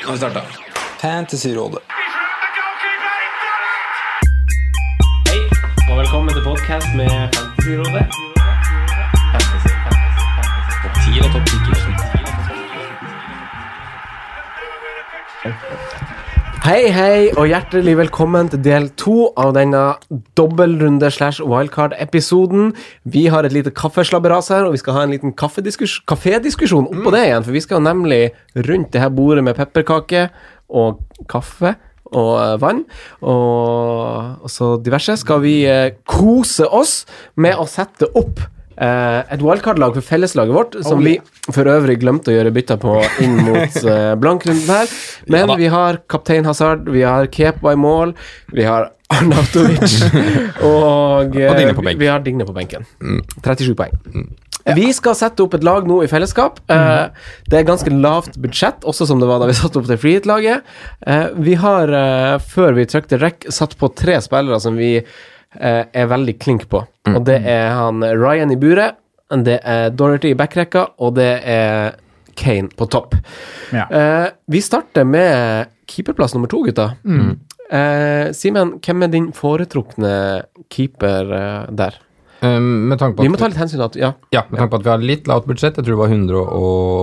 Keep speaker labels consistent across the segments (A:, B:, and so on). A: Nå har vi starta.
B: Fantasyrådet.
C: Hei, og velkommen til podcast med Fantasyrådet. Hei, hei, og hjertelig velkommen til del to av denne dobbeltrunde slash wildcard-episoden. Vi har et lite kaffeslabberas her, og vi skal ha en liten kaffediskus- kafédiskusjon oppå det igjen. For vi skal nemlig rundt det her bordet med pepperkake og kaffe og eh, vann og, og så diverse, skal vi eh, kose oss med å sette opp eh, et wildcard-lag for felleslaget vårt, som
A: Oh,
C: vi for øvrig glemte å gjøre bytter på inn mot eh, blankrunden her. Men vi har kaptein Hazard, vi har Kepa i mål, vi har Arnautovic og, eh,
A: Og Digne på benken. Mm.
C: vi har Digne på benken. 37 poeng. Vi skal sette opp et lag nå i fellesskap. Eh, det er ganske lavt budsjett, også som det var da vi satte opp det frihet-laget. Eh, vi har, eh, før vi trykte rekk, satt på tre spillere som vi eh, er veldig klink på. Og det er han Ryan i buret, det er Dorothy i backrekka, og det er Kane på topp.
D: Ja.
C: Eh, vi starter med keeperplass nummer to, gutta. Eh, Simen, hvem er din foretrukne keeper eh, der?
A: Um, med tanke på
C: Vi
A: at
C: må ta litt hensyn til at Ja.
A: Ja, med tanke på at vi har litt lavt budsjett, jeg tror det var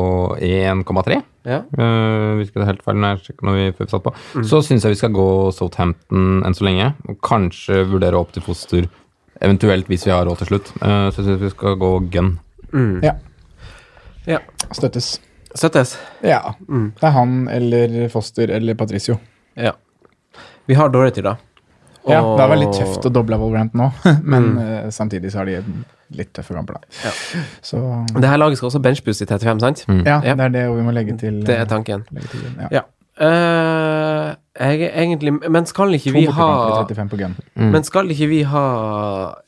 A: 101,3.
C: ja.
A: Uh, hvis ikke det er helt feil når jeg sjekker når vi før vi satt på.
C: Mm.
A: Så syns jeg vi skal gå Southampton enn så lenge, og kanskje vurdere opp til foster, eventuelt hvis vi har råd til slutt. Uh, så jeg syns vi skal gå gun.
D: ja.
C: ja. Mm.
D: Støttes.
C: Støttes.
D: Ja. Det er han eller Foster eller Patricio.
C: Ja. Vi har Dorothy, da.
D: Ja,
C: Og-
D: det er vel litt tøft å doble Wolverhampton nå, men
C: Mm.
D: eh, samtidig så har de en litt tøffe kamper, da. Så
C: Det her laget skal også benchboost i 35, sant?
D: ja,
C: Mm. Ja.
D: det er det vi må legge til.
C: Det er tanken.
D: legge til grunn, ja.
C: Ja. Eh, jeg er egentlig Men skal ikke
D: To
C: vi
D: bortekamper
C: ha
D: i 35 på gun.
C: Men skal ikke vi ha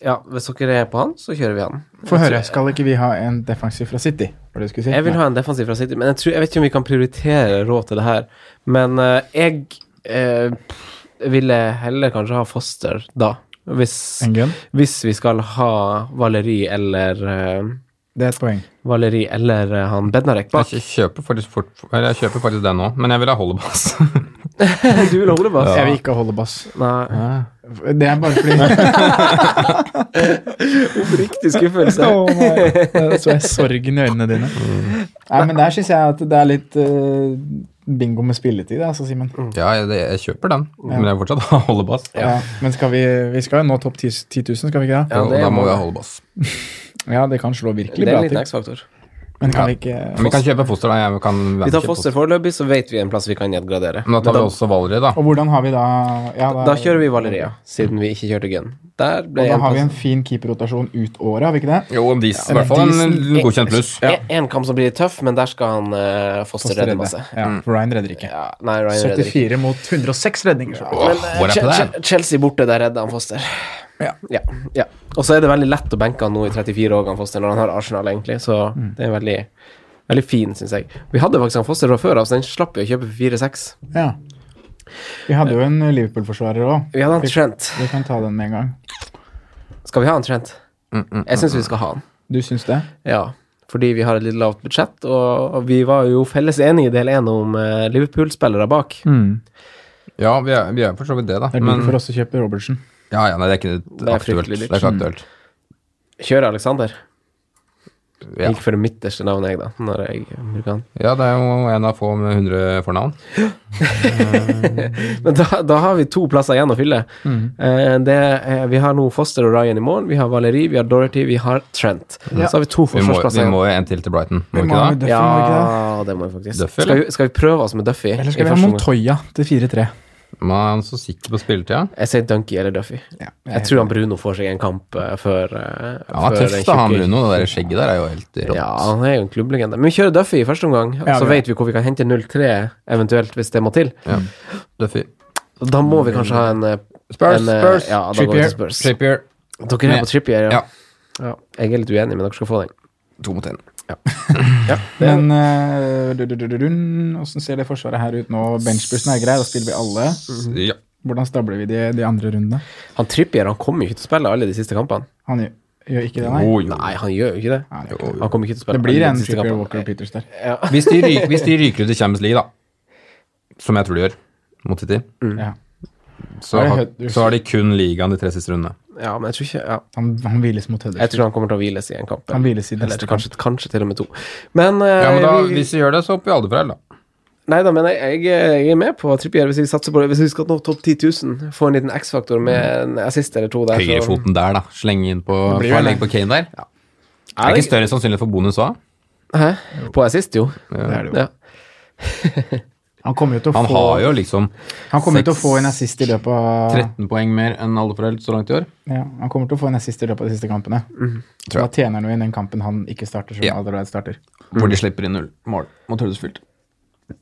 C: Ja, hvis dere er på han, så kjører vi han.
D: Få høre, skal ikke vi ha en defensiv fra City? Var det du skulle si?
C: Jeg vil
D: Nei.
C: ha en defensiv fra City, men jeg, tror, jeg vet ikke om vi kan prioritere råd til det her. Men eh, jeg eh, ville heller kanskje ha Foster da, hvis,
D: En gun?
C: hvis vi skal ha Valeri eller eh,
D: Det er et poeng.
C: Valeri eller eh, han Bednarek bak.
A: Jeg kjøper faktisk, fort, eller jeg kjøper faktisk den nå, men jeg vil ha Hollebass.
C: Du vil ha Olebass?
D: Jeg vil ikke holde bass.
C: Nei.
D: Det er bare fordi
C: Oppriktig skuffelse.
D: Åh, nei. Så jeg sorgen i øynene dine.
C: Mm.
D: Nei, men der syns jeg at det er litt eh, bingo med spilletid, altså, Simen.
C: Mm.
A: ja, jeg, jeg kjøper den, men jeg vil fortsatt ha Hollebass.
D: Ja. men skal vi, vi skal jo nå topp 10 10 000, skal vi ikke det?
C: Ja,
A: og
C: det
A: da må
C: må-
A: vi ha Hollebass.
D: Ja, det kan slå
C: Det
D: virkelig
C: er
D: bra
C: en liten
D: til.
C: X-faktor.
D: Men kan
A: Ja.
D: vi ikke
A: Men vi kan kjøpe Foster, da. Jeg kan
C: Vi tar Foster foreløpig, så vet vi en plass vi kan nedgradere.
A: Men da tar vi også Valerie, da.
D: Og hvordan har vi da ja,
C: Da kjører vi Valeria, siden vi ikke kjørte Gun. Der ble
D: Og da
C: en
D: har vi
C: plass-
D: en fin keeperrotasjon ut året, har vi ikke det?
A: Jo, en dis, i
D: En
A: hvert fall en
D: decent-
A: godkjent pluss.
C: Ja. En kamp som blir tøff, men der skal han eh, Foster redde masse. Mm.
D: Ja, for Ryan redder ikke.
C: Ja, nei, Ryan redder ikke.
D: 74 mot 106 redninger. så.
A: Åh, hvor er
C: Che-
A: det der?
C: eh, Che- Chelsea borte, der redder han Foster.
D: Ja.
C: Ja, ja. Og så er det veldig lett å benke han nå i 34 år, han Foster, når han har Arsenal, egentlig. Så
D: Mm.
C: det er veldig, veldig fin, syns jeg. Vi hadde faktisk han Foster fra før av, så den slapp vi å kjøpe for 4-6.
D: Ja. Vi hadde jo en Liverpool-forsvarer òg.
C: Vi hadde han Trent.
D: Vi kan ta den med en gang.
C: Skal vi ha han Trent?
A: Mm,
C: Jeg syns vi skal ha han.
D: Du syns det?
C: Ja. Fordi vi har et litt lavt budsjett, og vi var jo felles enige i del én om eh, Liverpool-spillere bak.
A: Ja, vi er, vi er for så vidt det, da.
D: Det er
A: Men
D: dyrt for oss å kjøpe Robertsen.
A: ja, ja, nei, det er ikke
C: er
A: aktuelt.
C: fryktelig
A: Det
C: dyrt.
A: er ikke aktuelt.
C: Kjører Alexander.
A: Ja.
C: Gikk for det midterste navnet, jeg, da. Når jeg bruker han.
A: ja, det er jo en av få med 100 fornavn.
C: Men da, da har vi to plasser igjen å fylle.
A: Mm.
C: Eh, det er, vi har nå Foster og Ryan i morgen. Vi har Valerie, vi har Dorothy, vi har Trent. Så har vi to
A: Vi må, vi
C: forsvarsplasser igjen.
A: må jo en til til Brighton, må
D: Vi
A: vi
D: må
A: ikke det?
D: ha Duffy, må vi ikke det?
C: Ja, det må vi faktisk.
A: Duffy,
C: skal, vi, skal vi prøve oss med Duffy?
D: Eller
C: i
D: skal vi
C: første
D: ha
C: omgang?
D: Montoya til 4-3?
A: Man er så sikker på spilletida.
C: Jeg sier Dunky eller Duffy.
D: Ja,
C: Jeg tror han Bruno får seg en kamp eh, før eh,
A: Ja, han
C: før
A: er tøff,
C: den
A: da, han
C: tjukke-
A: Bruno. Det der skjegget der er jo helt rått.
C: Ja, han er jo en klubblegende. Men vi kjører Duffy i første omgang, og
D: Ja,
C: så
D: vi-
C: vet vi hvor vi kan hente 0-3 eventuelt, hvis det må til.
A: Duffy.
C: Og Da må vi kanskje ha en eh,
A: Spurs,
C: en, eh,
A: Spurs,
C: Ja, da går vi
A: Trippier.
C: til Spurs.
A: Trippier.
C: Dere er på Trippier, ja.
A: Ja.
C: ja. Jeg er litt uenig, men dere skal få den.
A: To mot én.
D: Men eh, du- du- du- du- du- Hvordan ser det forsvaret her ut nå? Benchbussen er grei, da spiller vi alle.
A: Ja.
D: Hvordan stabler vi de, de andre rundene?
C: Han Trippier han kommer jo ikke til å spille alle de siste kampene.
D: Han, gjør- Gjør ikke det, nei?
A: Jo, jo.
C: Nei, han gjør jo ikke det.
D: Nei, det gjør
A: Jo, jo.
C: Han kommer ikke til å spille
D: Det blir
C: alle
D: en
C: de siste
D: Trippier
C: kampene.
D: Walker og Peters der.
C: Ja.
A: Hvis de, ryker, hvis de ryker ut i Champions League, da, som jeg tror de gjør, mot City,
D: Ja.
A: så
D: Har jeg
A: har,
D: hørt-
A: så har de kun ligaen de tre siste rundene.
C: ja, men jeg tror ikke ja.
D: Han, han hviles mot
C: Jeg
D: Huddersfield.
C: tror han kommer til å hviles i en kamp.
D: Han hviles i neste
C: Eller kanskje, kanskje til og med to. Men, eh,
A: Ja, men da,
C: vi-
A: Hvis de gjør det, så hopper vi alle for L, da.
C: Nei da, men jeg, jeg er med på Trippier hvis vi satser på det. Hvis vi skal nå topp 10 000, få en liten X-faktor med en assist eller to der. så-
A: Høyrefoten der, da. Slenge inn på,
D: Det blir jo
A: få en
D: det.
A: legg på Kane der. Ja.
C: Er
A: Er det
C: det
A: ikke større sannsynlighet for bonus hva?
C: Hæ? På assist, jo.
D: Det er det jo.
C: Ja.
D: Han kommer jo til å
A: Han
D: få,
A: har jo liksom
D: han kommer jo til å
A: seks-
D: få en assist i løpet av
A: 13 poeng mer enn alle for L så langt i år.
D: ja, Han kommer til å få en assist i løpet av de siste kampene. Så
A: Mm, Tror
D: da
A: jeg.
D: tjener han jo inn den kampen han ikke starter, som
A: Ja.
D: allerede starter.
A: Hvor de slipper inn null mål mot Huddersfield.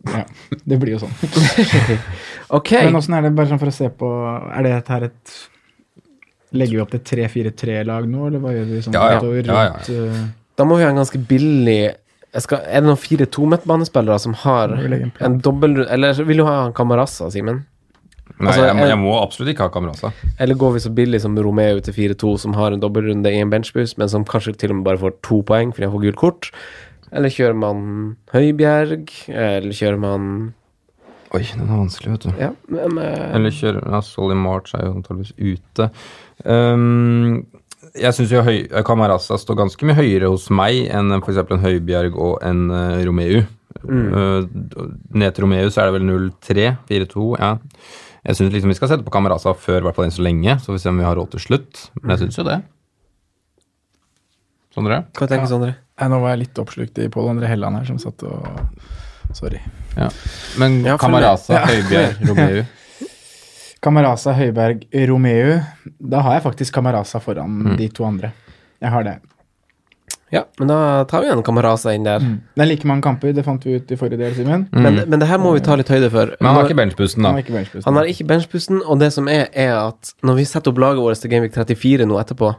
D: Ja, det blir jo sånn.
C: Ok.
D: Men åssen er det, bare sånn for å se på Er det her et Legger vi opp til 3-4-3-lag nå, eller hva gjør vi sånn
A: Ja, ja.
D: utover
A: Ja, ja.
D: rundt uh,
C: Da må vi ha en ganske billig jeg skal, Er det noen fire tomettbanespillere som har
D: Må vi legge en plan?
C: en dobbel Eller vil du ha en Camarasa, Simen?
A: Nei,
C: Altså,
A: jeg, må-
C: jeg-
A: jeg må absolutt ikke ha altså. Kamerasa.
C: Eller går vi så billig som Romeo til 4-2, som har en dobbeltrunde i en benchbus, men som kanskje til og med bare får to poeng fordi han får gult kort? Eller kjører man Høibjerg? Eller kjører man
A: Oi, den er vanskelig, vet du.
C: Ja, men eh,
A: Eller kjøre ja, Solly March er jo antageligvis ute. Ehm, jeg syns jo høy, eh, Camarasa står ganske mye høyere hos meg enn f.eks. en Høibjerg og en eh, Romeu.
D: Mm.
A: Eh, ned til Romeu så er det vel 0-3, 4-2. Ja. Jeg syns liksom vi skal sette på Camarasa før, i hvert fall enn så lenge. Så får vi se om vi har råd til slutt. Men
D: Mm.
A: jeg syns jo det. Sondre?
C: hva tenker
D: Ja.
C: Sondre?
D: Nei, Nå var jeg litt oppslukt i Pål André Helland her, som satt og Sorry.
A: Ja. Men
C: Ja, for meg.
A: Camarasa,
D: Ja.
A: Høibjerg, Romeu
D: Camarasa, Høiberg, Romeu. Da har jeg faktisk Camarasa foran
C: Mm.
D: de to andre. Jeg har det.
C: Ja, men da tar vi en Camarasa inn der.
D: Det er like mange kamper, det fant vi ut i forrige del, Simen.
C: Men, men det her må vi ta litt høyde for.
A: Mm. Men han har ikke benchboosten,
D: Han
A: da.
D: har ikke benchboost.
C: Han har ikke benchpusten, og det som er, er at når vi setter opp laget vårt til Gameweek 34 nå etterpå,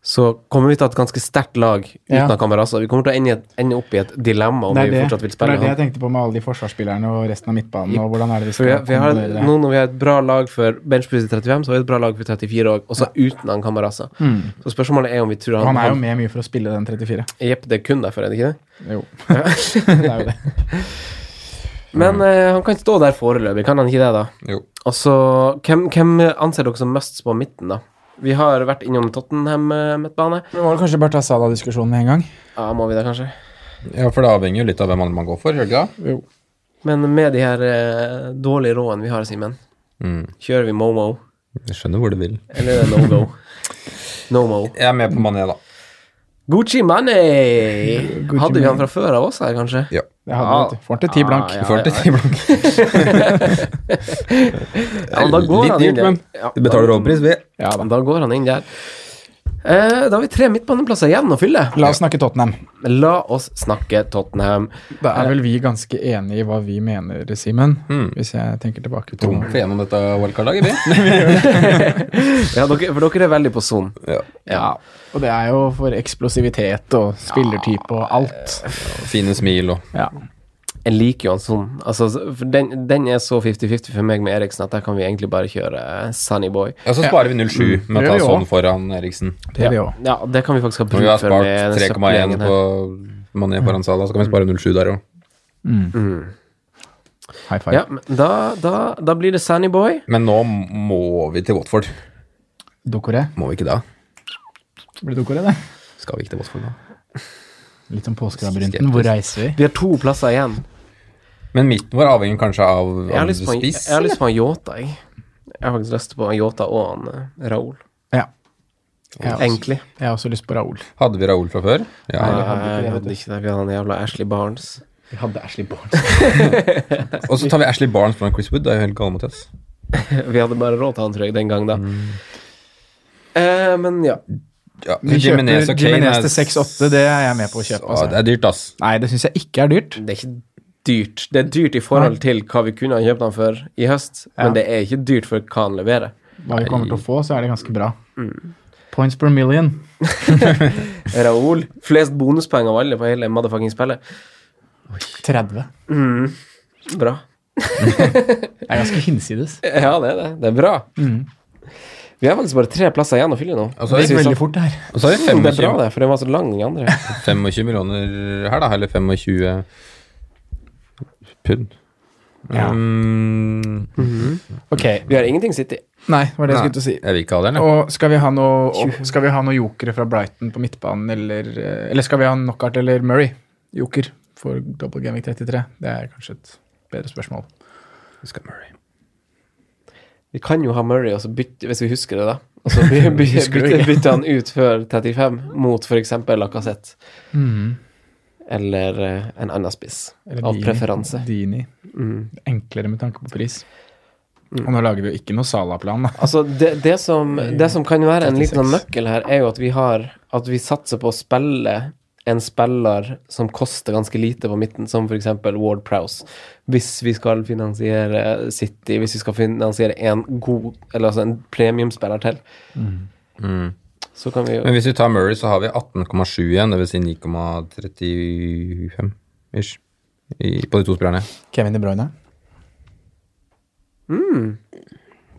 C: så kommer vi til å ha et ganske sterkt lag uten
D: Mm. Ja.
C: av Camarasa. Vi kommer til å ende, i et- ende opp i et dilemma om
D: Det er
C: vi
D: det.
C: fortsatt vil
D: det
C: spille
D: er det jeg
C: han.
D: tenkte på med alle de forsvarsspillerne og resten av midtbanen. og hvordan er det vi
C: For vi,
D: skal
C: vi har,
D: kombinere det?
C: nå når vi har et bra lag for benchpust i 35, så har vi et bra lag for 34 òg, også uten han Camarasa. Så spørsmålet er om vi tror
D: Mm. Og
C: han,
D: han er jo med mye for å spille den 34.
C: Jepp, det er kun derfor, er det ikke det?
D: Jo. det er jo det.
C: Men eh, han kan stå der foreløpig, kan han ikke det, da?
A: Mm. Jo.
C: Og så, hvem, hvem anser dere som musts på midten, da? Vi har vært innom Tottenham eh, midtbane.
D: Vi må vel kanskje bare ta Salah-diskusjonen med en gang.
C: Ja, må vi det, kanskje?
A: Ja, for det avhenger jo litt av hvem andre man går for, gjør det ikke det?
D: Jo.
C: Men med de her eh, dårlige rådene vi har, Simen,
A: Mm.
C: kjører vi Momo,
A: Jeg skjønner hvor det vil.
C: eller er det no-go? No-mo.
A: Jeg er med på Mané, da.
C: Gucci Money!
D: Gucci
C: Hadde vi han fra
D: Mane.
C: før av oss her, kanskje?
A: Ja.
D: Det hadde vi, vet du. Får han til ti blank.
C: Ah, ja.
A: Får til ti blank.
C: Ja, da går
A: Litt
C: han inn
A: dyrt,
C: der.
A: men
C: Ja,
A: vi betaler overpris, vi.
C: Ja, da. da går han inn der. Eh, da har vi tre midtbaneplasser igjen å fylle.
D: La oss snakke Tottenham.
C: La oss snakke Tottenham.
D: Da er vel vi ganske enige i hva vi mener, Simen.
A: Mm.
D: Hvis jeg tenker tilbake på
A: Trumfer gjennom dette wildcard-laget, vi.
C: Ja, dere, for dere er veldig på Zoom.
A: Ja.
C: Ja.
D: Og det er jo for eksplosivitet og spillertype og alt.
A: Fine smil og
D: Ja.
C: Jeg liker jo han sånn. Altså, for den, den er så 50-50 for meg med Eriksen at der kan vi egentlig bare kjøre eh, Sunny Boy.
A: Ja, så sparer vi
C: Mm.
A: 0,7 med
D: Det
A: å ta
D: gjør vi
A: sånn
D: også.
A: foran Eriksen.
D: Det er vi òg.
C: Ja, det kan vi faktisk ha
A: Når vi
C: bruk
A: har
C: for med
A: spart
C: den
A: 3,1
C: søppelgjengen her.
A: på Mané foran Salah, så kan vi spare 0,7 der òg.
D: High five.
C: Ja, men da, da, da blir det Sunny Boy.
A: Men nå må vi til Watford.
D: Dokore.
A: Må vi ikke da?
D: Blir det Dokore, det?
A: Skal vi ikke til Watford da?
D: Litt som påskerabyrynten. Hvor reiser vi?
C: Vi har to plasser igjen.
A: Men midten vår avhenger kanskje av,
C: Jeg har
A: av
C: lyst på en,
A: spiss?
C: jeg har lyst på en Yota, jeg. Jeg har faktisk lyst på en Yota og en eh, Raoul.
D: Ja. Jeg har, også,
C: Egentlig.
D: jeg har også lyst på Raoul.
A: Hadde vi Raoul fra før? Ja.
C: Nei,
D: vi hadde
C: jeg
D: ikke altså, det, vet du.
C: hadde ikke det. Vi hadde han jævla Ashley Barnes.
D: Vi hadde Ashley Barnes.
A: Og så tar vi Ashley Barnes foran Chris Wood. Det er jo helt gale mot oss.
C: Vi hadde bare råd til han, tror jeg, den gang, da.
A: Mm.
C: Eh, men ja.
A: Ja.
D: Vi kjøper
A: Jimenez og Kane
D: Jimenez
A: er-
D: til 6-8, det er jeg med på å kjøpe.
A: Ja, Det
D: Altså.
A: er dyrt, ass.
D: Nei, det syns jeg ikke er dyrt.
C: Det er ikke dyrt. Det er dyrt i forhold til hva vi kunne ha kjøpt han for i høst, men det er ikke dyrt for hva han leverer.
D: Hva vi kommer til å få, så er det ganske bra. Points per million.
C: Raoul. Flest bonuspoeng av alle på hele motherfucking spillet.
D: 30.
C: Bra.
D: Det er ganske hinsides.
C: Ja, det er det. Det er bra. Vi har faktisk bare tre plasser igjen å fylle nå.
A: Og så er
D: Mm. Altså, Det
A: det,
D: gikk veldig fort her.
A: og så er det
C: Mm, Det er bra,
A: 25,
C: det, for den var så lang, den andre.
A: 25 millioner her, da. Eller 25 pund.
D: Ja.
A: Um,
D: Ok.
C: Vi har ingenting City.
D: Nei, det var det
A: nei,
D: jeg skulle til å si.
A: Jeg vil ikke ha den, jeg.
D: Og skal vi ha noe, skal vi ha noe jokere fra Brighton på midtbanen, eller, eh, eller skal vi ha Knockout eller Murray? Joker for Double Gaming 33. Det er kanskje et bedre spørsmål.
A: Vi skal Murray.
C: Vi kan jo ha Murray, og så bytte, hvis vi husker det, da. Og så by, by,
D: Husker du
C: bytte,
D: ikke?
C: bytte han ut før 35 mot f.eks. Lacassette eller eh, en annen spiss.
D: Mm. Eller
C: Av
D: Dini.
C: preferanse.
D: Dini.
C: Mm.
D: Enklere med tanke på pris.
C: Mm.
D: Og nå lager vi jo ikke noe Sala-plan, da.
C: Altså, det, det, som, det som kan være en liten
D: 36.
C: nøkkel her, er jo at vi har At vi satser på å spille en spiller som koster ganske lite på midten, som f.eks. Ward Prowse. Hvis vi skal finansiere City, hvis vi skal finansiere en god, eller altså en premiumspiller til,
A: Mm.
C: så kan vi jo
A: Men hvis vi tar Murray, så har vi 18,7 igjen, dvs. Si 9,35 ish. I, på de to spillerne.
D: Kevin De Bruyne.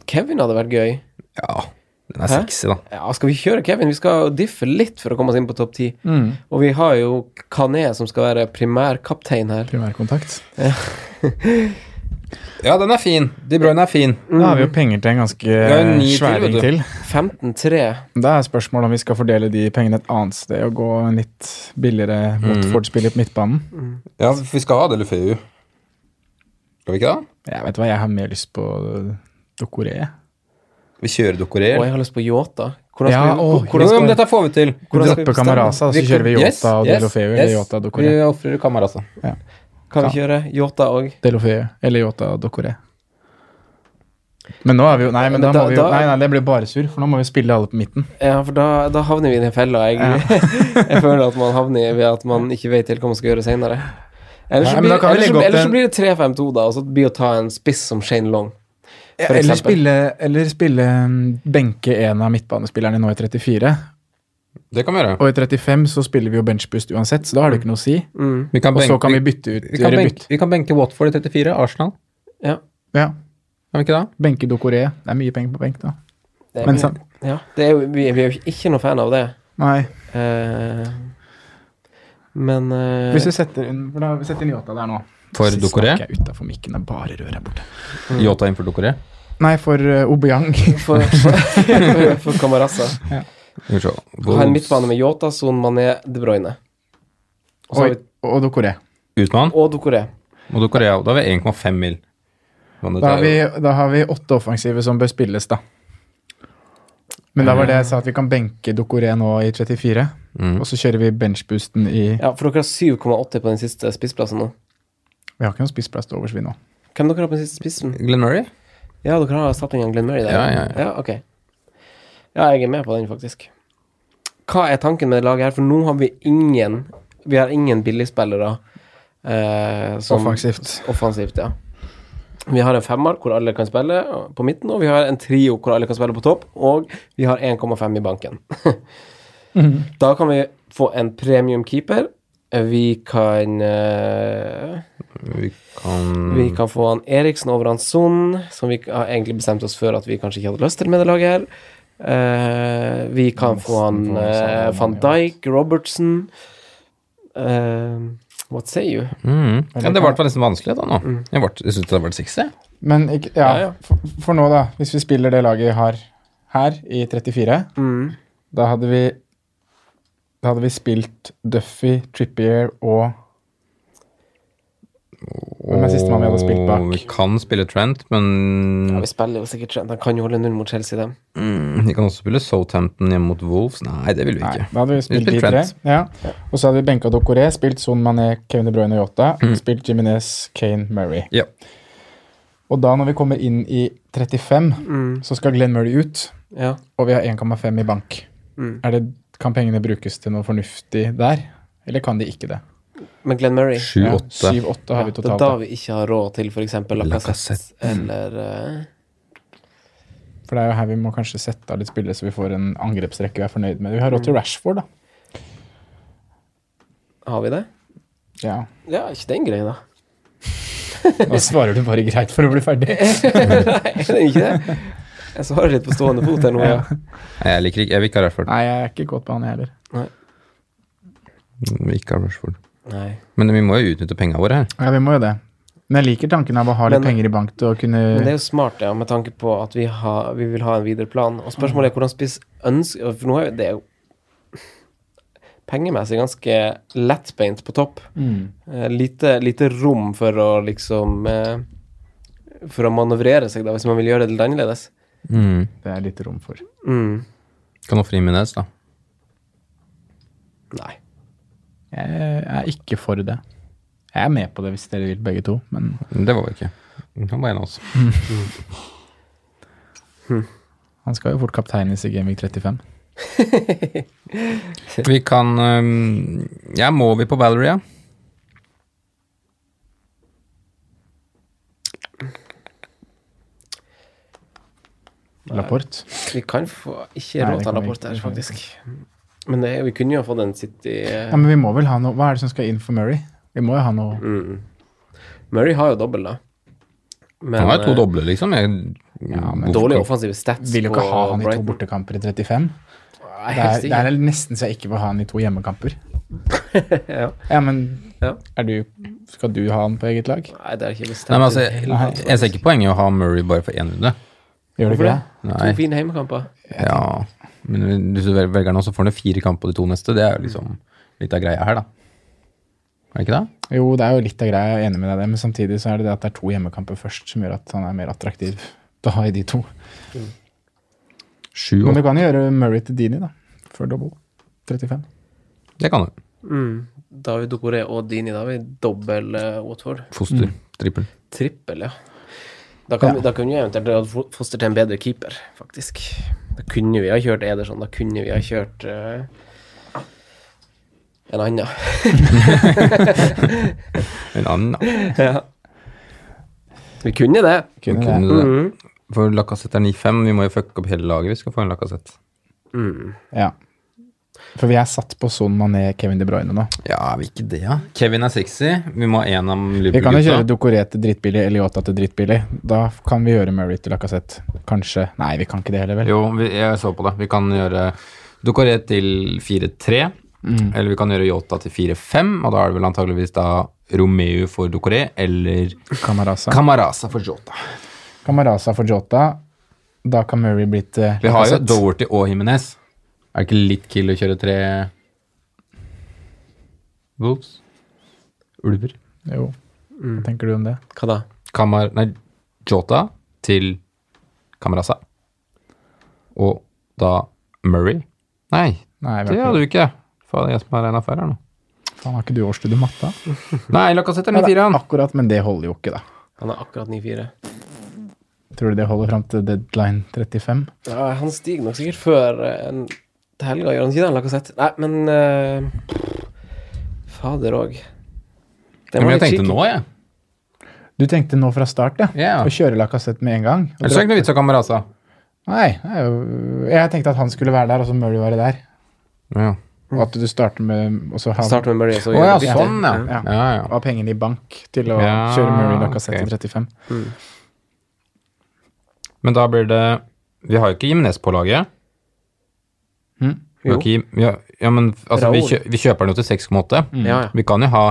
C: Kevin hadde vært gøy.
A: Ja, den er
C: Hæ?
A: sexy, da.
C: Ja, skal vi kjøre Kevin? Vi skal diffe litt for å komme oss inn på topp ti. Og vi har jo Kané som skal være primærkaptein her.
D: Primærkontakt.
A: Ja, den er fin. De Bruyne er fin.
D: Da har vi jo penger til
A: er
D: en
A: jo
D: ganske
A: ni til,
D: sværing
A: vet du.
D: til.
C: 15-3.
D: Da er spørsmålet om vi skal fordele de pengene et annet sted og gå en litt billigere Watford-spiller på midtbanen.
A: Ja, vi skal ha det Lufeu. Skal vi ikke det?
D: Jeg vet hva, jeg har mer lyst på Dokoré.
A: Vi kjører Dokoré.
C: Og jeg har lyst på Yota. Hvordan
D: Ja,
C: skal
D: åh,
C: vi, hvordan
A: Jo,
C: skal
A: men dette får vi til.
C: Hvordan skal vi
D: Droppe
C: bestemme?
D: Kamaraza, så kjører vi
A: Yes,
D: Yota og
A: yes,
D: Delofeu. Eller
A: yes.
D: Yota og
A: Vi altså.
D: Dokoré.
A: ofrer Kamaraza.
C: kan vi kjøre Yota òg?
D: Delofeu eller Yota og Dokoré. Men nå er vi jo Nei, men da,
C: Da-
D: må vi jo,
C: da-
D: nei, nei, det blir bare sur, for nå må vi spille alle på midten.
C: Ja, for da, da havner vi i den fella. Jeg, jeg føler at man havner ved at man ikke vet helt hva man skal gjøre seinere. Ellers, så
D: Nei, men da
C: blir-
D: kan vi
C: ellers,
D: legge
C: så-
D: opp
C: ellers så
D: en-
C: blir det 3-5-2, da, og så blir det å ta en spiss som Shane Long. For
D: Eller
C: eksempel.
D: spille, eller spille mm, benke en av midtbanespillerne nå i 34.
A: Det kan vi gjøre.
D: Og i 35 så spiller vi jo benchboost uansett, så da har det ikke noe å si.
C: Mm,
A: Vi kan
D: Og så
A: benke,
D: kan vi
A: vi,
D: bytte ut
A: kan
D: gjøre
A: benke,
D: bytt.
A: vi kan benke Watford i 34, Arsenal.
C: ja.
D: Ja,
A: Kan vi ikke det?
D: Benke Dokoré. Det er mye penger på benk, da.
C: Det er,
D: Men
C: vi-
D: sam-
C: ja, det er, jo- vi, vi er jo ikke noe fan av det.
D: Nei.
C: Eh, men eh,
D: Hvis vi setter inn, for da, vi setter inn Yota der nå
A: For
D: Så
A: Dokoré.
D: Snakker jeg utenfor mikken, det er bare rør her borte.
A: Yota Mm. inn for Dokoré.
D: Nei, for eh, Obiang.
C: for, for, for Kamaraza
A: Skal vi se.
C: ha en midtbane med Yota, Son Mané, De Bruyne. Og så har
D: og,
C: vi
D: og Dokoré.
A: Utmann
C: og Dokoré.
A: og Dokoré. Da har vi 1,5 mil. Men dette
D: Da har,
A: er jo-
D: vi, da har vi åtte offensive som bør spilles, da. Men da var det jeg sa, at vi kan benke Dokoré nå i 34,
A: Mm.
D: og så kjører vi benchboosten i
C: Ja, for dere har 7,80 på den siste spissplassen nå.
D: Vi har ikke noen spissplass til overs, vi nå.
C: Hvem dere har på den siste spissen?
A: Glenn Murray?
C: Ja, dere har erstatningen Glenn Murray der.
A: Ja, ja, ja.
C: ja ok. Ja, jeg er med på den, faktisk. Hva er tanken med det laget her? For nå har vi ingen Vi har ingen billigspillere eh, som
D: Offensivt.
C: Offensivt, ja. Vi har en femmer hvor alle kan spille og- på midten, og vi har en trio hvor alle kan spille på topp, og vi har 1,5 i banken. Da kan vi få en premium keeper. Vi kan eh,
A: Vi kan
C: Vi kan få han Eriksen over han Son, som vi har egentlig bestemt oss for at vi kanskje ikke hadde lyst til med det laget her. Eh, vi kan få han eh, van Dijk, Robertson Eh, What say you?
A: Mm. Ja, det ble i hvert fall nesten vanskelig da nå. Jeg, ble- jeg syns det har vært sexy.
D: Men ikke, ja,
C: Ja, ja.
D: For, for nå, da. Hvis vi spiller det laget vi har her, i 34,
C: Mm.
D: da hadde vi Da hadde vi spilt Duffy, Trippier og Hvem er sistemann vi hadde spilt bak?
A: Og Vi kan spille Trent, men
C: Ja, vi spiller jo sikkert Trent. Han kan jo holde null mot Chelsea, dem.
A: Mm, Vi kan også spille Southampton hjemme mot Wolves. Nei, det vil vi
D: Nei,
A: ikke.
D: da hadde vi spilt
A: Vi
D: de
A: spilte
D: tre.
A: Trent.
D: Ja. Og så hadde vi benka Dokoré, spilt Son Mané, Kevin De Bruyne og Yota. Spilt Jiminez, Kane, Murray.
A: Ja.
D: Og da når vi kommer inn i 35, så skal Glenn Murray ut,
C: Mm. Ja.
D: og vi har 1,5 i bank.
C: Mm.
D: Er det, kan pengene brukes til noe fornuftig der? Eller kan de ikke det?
C: Men Glenn Murray
D: Ja,
A: 7-8.
D: 7-8 har vi
C: Det er da
D: totalt.
C: vi ikke har råd til f.eks. Lacassette
A: Lacazette.
C: eller eh,
D: Da. For det er jo her vi må kanskje sette av litt spillere, så vi får en angrepsrekke vi er fornøyd med. Vi har råd til Rashford, da.
C: Har vi det?
D: Ja.
C: Ja, ikke den greia, da.
D: Da svarer du bare greit for å bli ferdig.
C: Nei, er det ikke det? Jeg svarer litt på stående fot her nå. Ja.
A: Nei, jeg liker ikke Jeg vil ikke ha Rashford.
D: Nei, jeg er ikke kåt på han, jeg heller.
A: Mm, Vi vil Ikke ha Rashford.
C: Nei.
A: Men vi må jo utnytte pengene våre her.
D: Ja, vi må jo det. Men jeg liker tanken av å ha litt
C: Men-
D: penger i bank til å kunne
C: Men det er jo smart, ja, med tanke på at vi, har, vi vil ha en videre plan. Og spørsmålet er hvordan spiss ønsker For nå er jo det er jo pengemessig ganske lettbeint på topp.
D: Mm.
C: Eh, lite, lite rom for å liksom eh, For å manøvrere seg, da, hvis man vil gjøre det litt annerledes.
A: Mm.
D: Det er litt rom for.
C: Mm.
A: Kan ofre Iminez, da.
C: Nei.
D: Jeg er ikke for det. Jeg er med på det hvis dere vil, begge to, men
A: Men Det var vi ikke. Han var en av oss.
D: han skal jo fort kapteines i Gamevik 35.
A: Vi kan øhm, Ja, må vi på Valerie, ja?
D: Lapport.
C: Vi kan få ikke
D: Nei,
C: råd
D: det
C: til
D: kan vi
C: rapport
D: ikke.
C: her, faktisk. Men det, er- vi kunne jo ha fått en City eh,
D: Ja, men vi må vel ha noe Hva er det som skal inn for Murray? Vi må jo ha noe
C: mm. Murray har jo dobbel, da. Men,
A: Han har jo to
C: eh,
A: doble, liksom. Jeg,
D: Ja, men
A: Hvorfor-
C: Dårlige offensive stats
D: Vil jo ikke
C: på
D: ha han i to
C: Brighton.
D: bortekamper i 35.
C: Nei,
D: Det er,
C: helst
D: det
C: ikke.
D: er nesten så jeg ikke vil ha han i to hjemmekamper.
C: Ja.
D: Ja, men
C: Ja.
D: er du, skal du ha han på eget lag?
C: Nei, det er ikke bestemt.
A: Nei, men altså,
C: i det
A: jeg,
C: hele tatt.
A: jeg ser ikke poenget i å ha Murray bare for én runde.
D: Gjør du
C: Hvorfor
D: ikke
C: det?
D: det?
A: Nei.
C: To fine heimekamper.
A: Ja, men hvis du vel- velger nå, så får han jo fire kamper på de to neste. Det er jo liksom litt av greia her, da. Er det ikke det?
D: Jo, det er jo litt av greia, jeg er enig med deg i det, men samtidig så er det det at det er to hjemmekamper først som gjør at han er mer attraktiv da i de to.
A: Sju
D: Men du
A: år.
D: kan jo gjøre Murray til Dini, da. For double. 35.
A: Det kan du.
C: Mm. David Dokore og Dini, da har vi dobbel eh, Watford.
A: Foster.
D: Mm.
A: Trippel.
C: Trippel, ja. Da, kan,
D: Ja.
C: da kunne vi eventuelt ha fo- Foster til en bedre keeper, faktisk. Da kunne vi ha kjørt Ederson, da kunne vi ha kjørt eh, en annen.
A: En annen, da.
C: ja. Vi kunne det.
D: Kunne det.
A: Kunne det.
C: Mm.
A: For Lacassette er 9-5. Vi må jo fucke opp hele laget. Vi skal få en Lacassette.
C: Mm.
D: Ja. For vi er satt på Son Mané, Kevin De Bruyne nå.
A: Ja, er vi ikke det, ja? Kevin er 60. Vi må ha én av
D: Vi kan jo kjøre
A: Liverpool-gutta.
D: Dokoré til drittbillig, Eliota til drittbillig. Da kan vi gjøre Murray til Lacassette. Kanskje Nei, vi kan ikke det heller, vel?
A: Jo, vi, jeg så på det. Vi kan gjøre Ducoré til 4-3.
D: Mm.
A: Eller vi kan gjøre Yota til 4-5, og da er det vel antageligvis da Romeo for Ducoré eller
D: Camarasa.
A: Camarasa for Jota.
D: Camarasa for Jota. Da kan eh, Murray bli til
A: Vi har jo
D: Lacazette.
A: Doherty og Jimenez. Er det ikke litt kill å kjøre tre Wolves? Ulver?
D: Jo.
A: Mm.
D: Hva tenker du om det?
C: Hva da?
A: Kamar... Nei, Jota til Kamaraza. Og da Murray. Nei,
D: Nei, vi
A: det
D: har
A: hadde
D: ikke,
A: du ikke. Faen, jeg som har regna feil her nå.
D: faen, har ikke du årsstudio i matte? da?
A: Nei, Lacassette er
D: Nei,
A: 94,
D: da,
A: han.
D: akkurat, men det holder jo ikke, da.
C: Han er akkurat 9-4.
D: Tror du det holder fram til deadline 35?
C: Ja, han stiger nok sikkert før eh, en, til helga, gjør han ikke det? Lacassette? Nei, men eh, Fader òg.
A: Ja, men jeg tenkte nå, jeg.
D: Du tenkte nå fra start, ja?
A: Ja.
D: Å kjøre Lacassette med en gang? Og
A: Ellers er det ikke noe vits i Kamaraza.
D: Nei, det er jo- jeg tenkte at han skulle være der, og så Murray være der.
A: Ja.
D: Og at du starter med og så ha,
C: Start med Murray, så
A: Å
C: gjør
A: ja,
C: det bytte.
A: sånn, ja.
D: Ja.
A: ja, ja.
D: ha pengene i bank til å
A: Ja,
D: kjøre Murray Lacassette
A: ok.
D: til 35.
A: Men da blir det Vi har jo ikke Jimenez på laget.
D: Mm.
A: Vi har
C: Hm? Jo.
A: ikke- ja, ja, men altså, vi,
C: Raoul. Mm.
A: kjø, vi kjøper den jo til 6,8.
C: Ja, ja.
A: Vi kan jo ha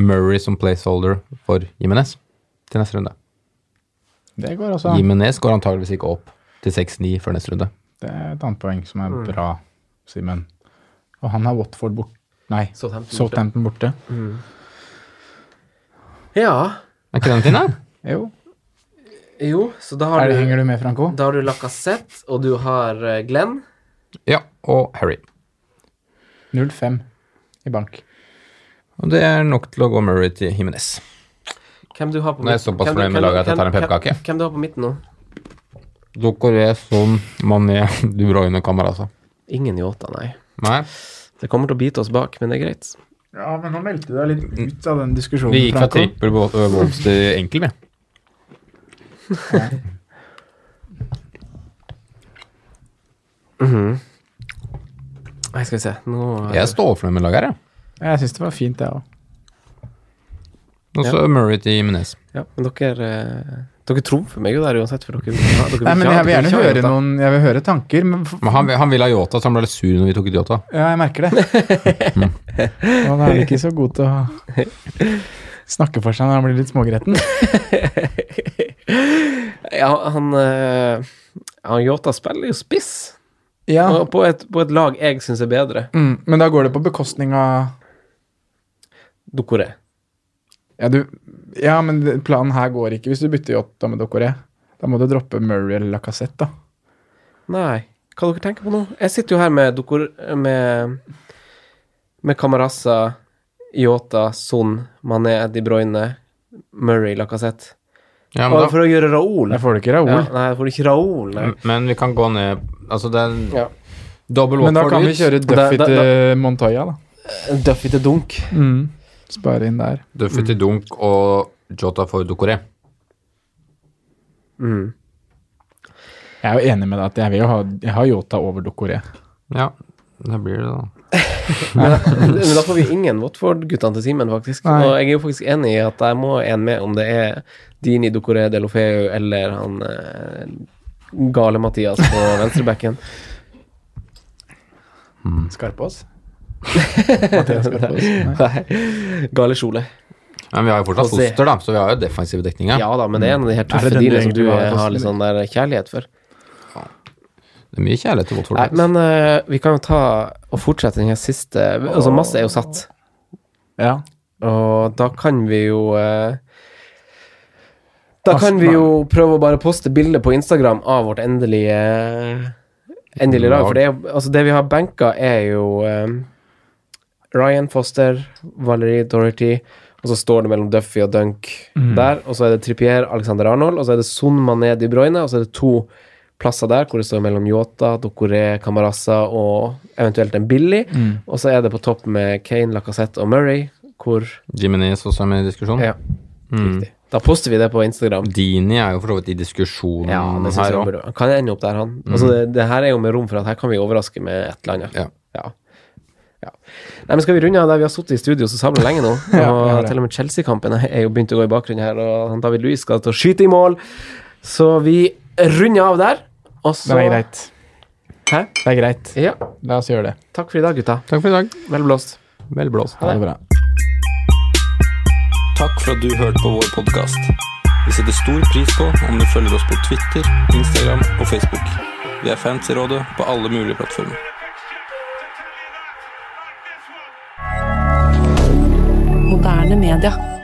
A: Murray som placeholder for Jimenez til neste runde.
D: Det går også an.
A: Jimenez går antageligvis ikke opp til 6,9 før neste runde.
D: Det er et annet poeng som er bra, Simen. Og han har Watford bort... Nei,
C: Southampton borte.
D: Southampton borte.
C: Ja.
A: Er ikke den fin, da?
D: Jo.
C: Jo, så da
D: Er
C: har
D: det,
C: du
D: henger du med, Franco?
C: Da har du Lacassette, og du har eh, Glenn.
A: Ja, og Harry.
D: 0-5 i bank.
A: Og det er nok til å gå Murray til Jimenez.
C: Hvem du har på
A: Nå er jeg
C: midten-
A: såpass
C: hvem du-
A: fornøyd med
C: hvem du-
A: laget at jeg
C: hvem-
A: tar en pepperkake.
C: hvem- Hvem du har på midten nå?
A: Dokoré, Son, Mané, Du Bruyne, Kamara, altså.
C: Ingen Yota, nei.
A: Nei,
C: Det kommer til å bite oss bak, men det er greit.
D: Ja, men nå meldte du deg litt ut av den diskusjonen,
A: vi gikk fra trippel Wol- øh, Wolves til enkel, vi.
C: Mhm. Nei, skal vi se. Nå
A: Jeg står fornøyd med laget her, jeg.
D: Jeg syns det var fint, jeg òg.
A: Og så Murray til Jimenez.
C: Ja, men dere eh, Dere trumfer meg jo der uansett, for dere, ja, dere
D: Nei, men jeg
C: dere
D: vil gjerne
C: ikke ha
D: høre
C: Jota.
D: noen Jeg vil høre tanker, men f-
A: Men han, han ville ha Yota, så han ble litt sur når vi tok ut Yota.
D: ja, jeg merker det. Og han er ikke så god til å snakke for seg når han blir litt smågretten.
C: Ja, han, eh, han Yota spiller jo spiss,
D: Ja,
C: og på, et, på et lag jeg syns er bedre.
D: mm, men da går det på bekostning av
C: Dokore.
D: Ja, du, ja men det- planen her går ikke hvis du bytter Jota med Dokoré. Da må du droppe Murray eller Lacassette, da.
C: Nei, hva dere tenker på nå? Jeg sitter jo her med Dokore Med, med Camarasa, Yota, Son, Mané, De Bruyne, Murray, Lacassette.
A: Ja,
C: Og
A: men, da,
C: for å gjøre Raoul.
D: Der får du ikke Raoul.
C: Ja, nei, får du ikke Raoul, nei.
A: men vi kan gå ned Altså, det er
C: Ja.
A: dobbel
D: Men da
A: Watford
D: kan vi
A: ut.
D: kjøre Duffy
C: Da- da-
D: til Montoya, da.
C: Duffy til dunk.
D: Mm. Spare inn der.
A: Duffy til Dunk og Jota for Ducoré.
C: Mm.
D: Jeg er jo enig med deg at jeg vil jo ha, jeg har Jota over Dokoré.
A: Ja, det blir det, da.
C: Men da får vi ingen Watford-guttene til Simen, faktisk.
D: Nei.
C: Og jeg er jo faktisk enig i at jeg må en med, om det er Dini Dokoré de Lofeu eller han eh, gale Mathias på venstrebacken.
D: Mm. Skarpås? Mathias Skarpås. Nei.
C: Nei. gale Kjole.
A: Men vi har jo fortsatt
C: José.
A: foster, da, så vi har jo defensiv dekning.
C: Ja.
A: Ja.
C: da, men det er en av de her
D: Er
C: tøffe
D: det den du
C: dine som
D: egentlig
C: du
D: har
C: eh,
D: på
C: har litt sånn der kjærlighet for.
A: Det er mye kjærlighet til Watford.
C: Nei,
A: faktisk.
C: men eh, vi kan jo ta og fortsette den her siste Altså, masse er jo satt.
D: Ja.
C: Og da kan vi jo eh, Da
D: Pass-
C: kan vi jo prøve å bare poste bilde på Instagram av vårt endelige eh, Endelige lag. For det, er, jo- altså det vi har benka, er jo eh, Ryan Foster, Valerie Dorothy, og så står det mellom Duffy og Dunk der. Og så er det Trippier, Alexander Arnold, og så er det Son Mané De Bruyne, og så er det to plasser der hvor det står mellom Yota, Dokoré, Camarasa og eventuelt en Billy. Og så er det på topp med Kane, Lacassette og Murray, hvor
A: Jimenez også er med i diskusjonen.
C: Ja, riktig. Da poster vi det på Instagram.
A: Dini er jo for så vidt i diskusjonen
C: Ja,
D: Mm,
C: det synes
A: her
C: jeg
A: òg.
C: burde. Han kan ende opp der, han. Altså, det, det her er jo med rom for at her kan vi overraske med et eller annet.
A: Ja.
C: Ja. Ja. Nei, men skal vi runde av der vi har sittet i studio så sabla lenge nå? Og
D: Ja, vi har det.
C: til og med Chelsea-kampen er jo begynt å gå i bakgrunnen her, og han David Louis skal til å skyte i mål. Så vi runder av der, og så
D: Det er greit.
C: Hæ?
D: Det er greit.
C: Ja.
D: La oss gjøre det.
C: Takk for i dag, gutta.
A: Takk for i dag.
C: Vel blåst.
A: Vel blåst.
D: Ha det bra.
B: Takk for at du hørte på vår podkast. Vi setter stor pris på om du følger oss på Twitter, Instagram og Facebook. Vi er fans i rådet på alle mulige plattformer.
E: Moderne media.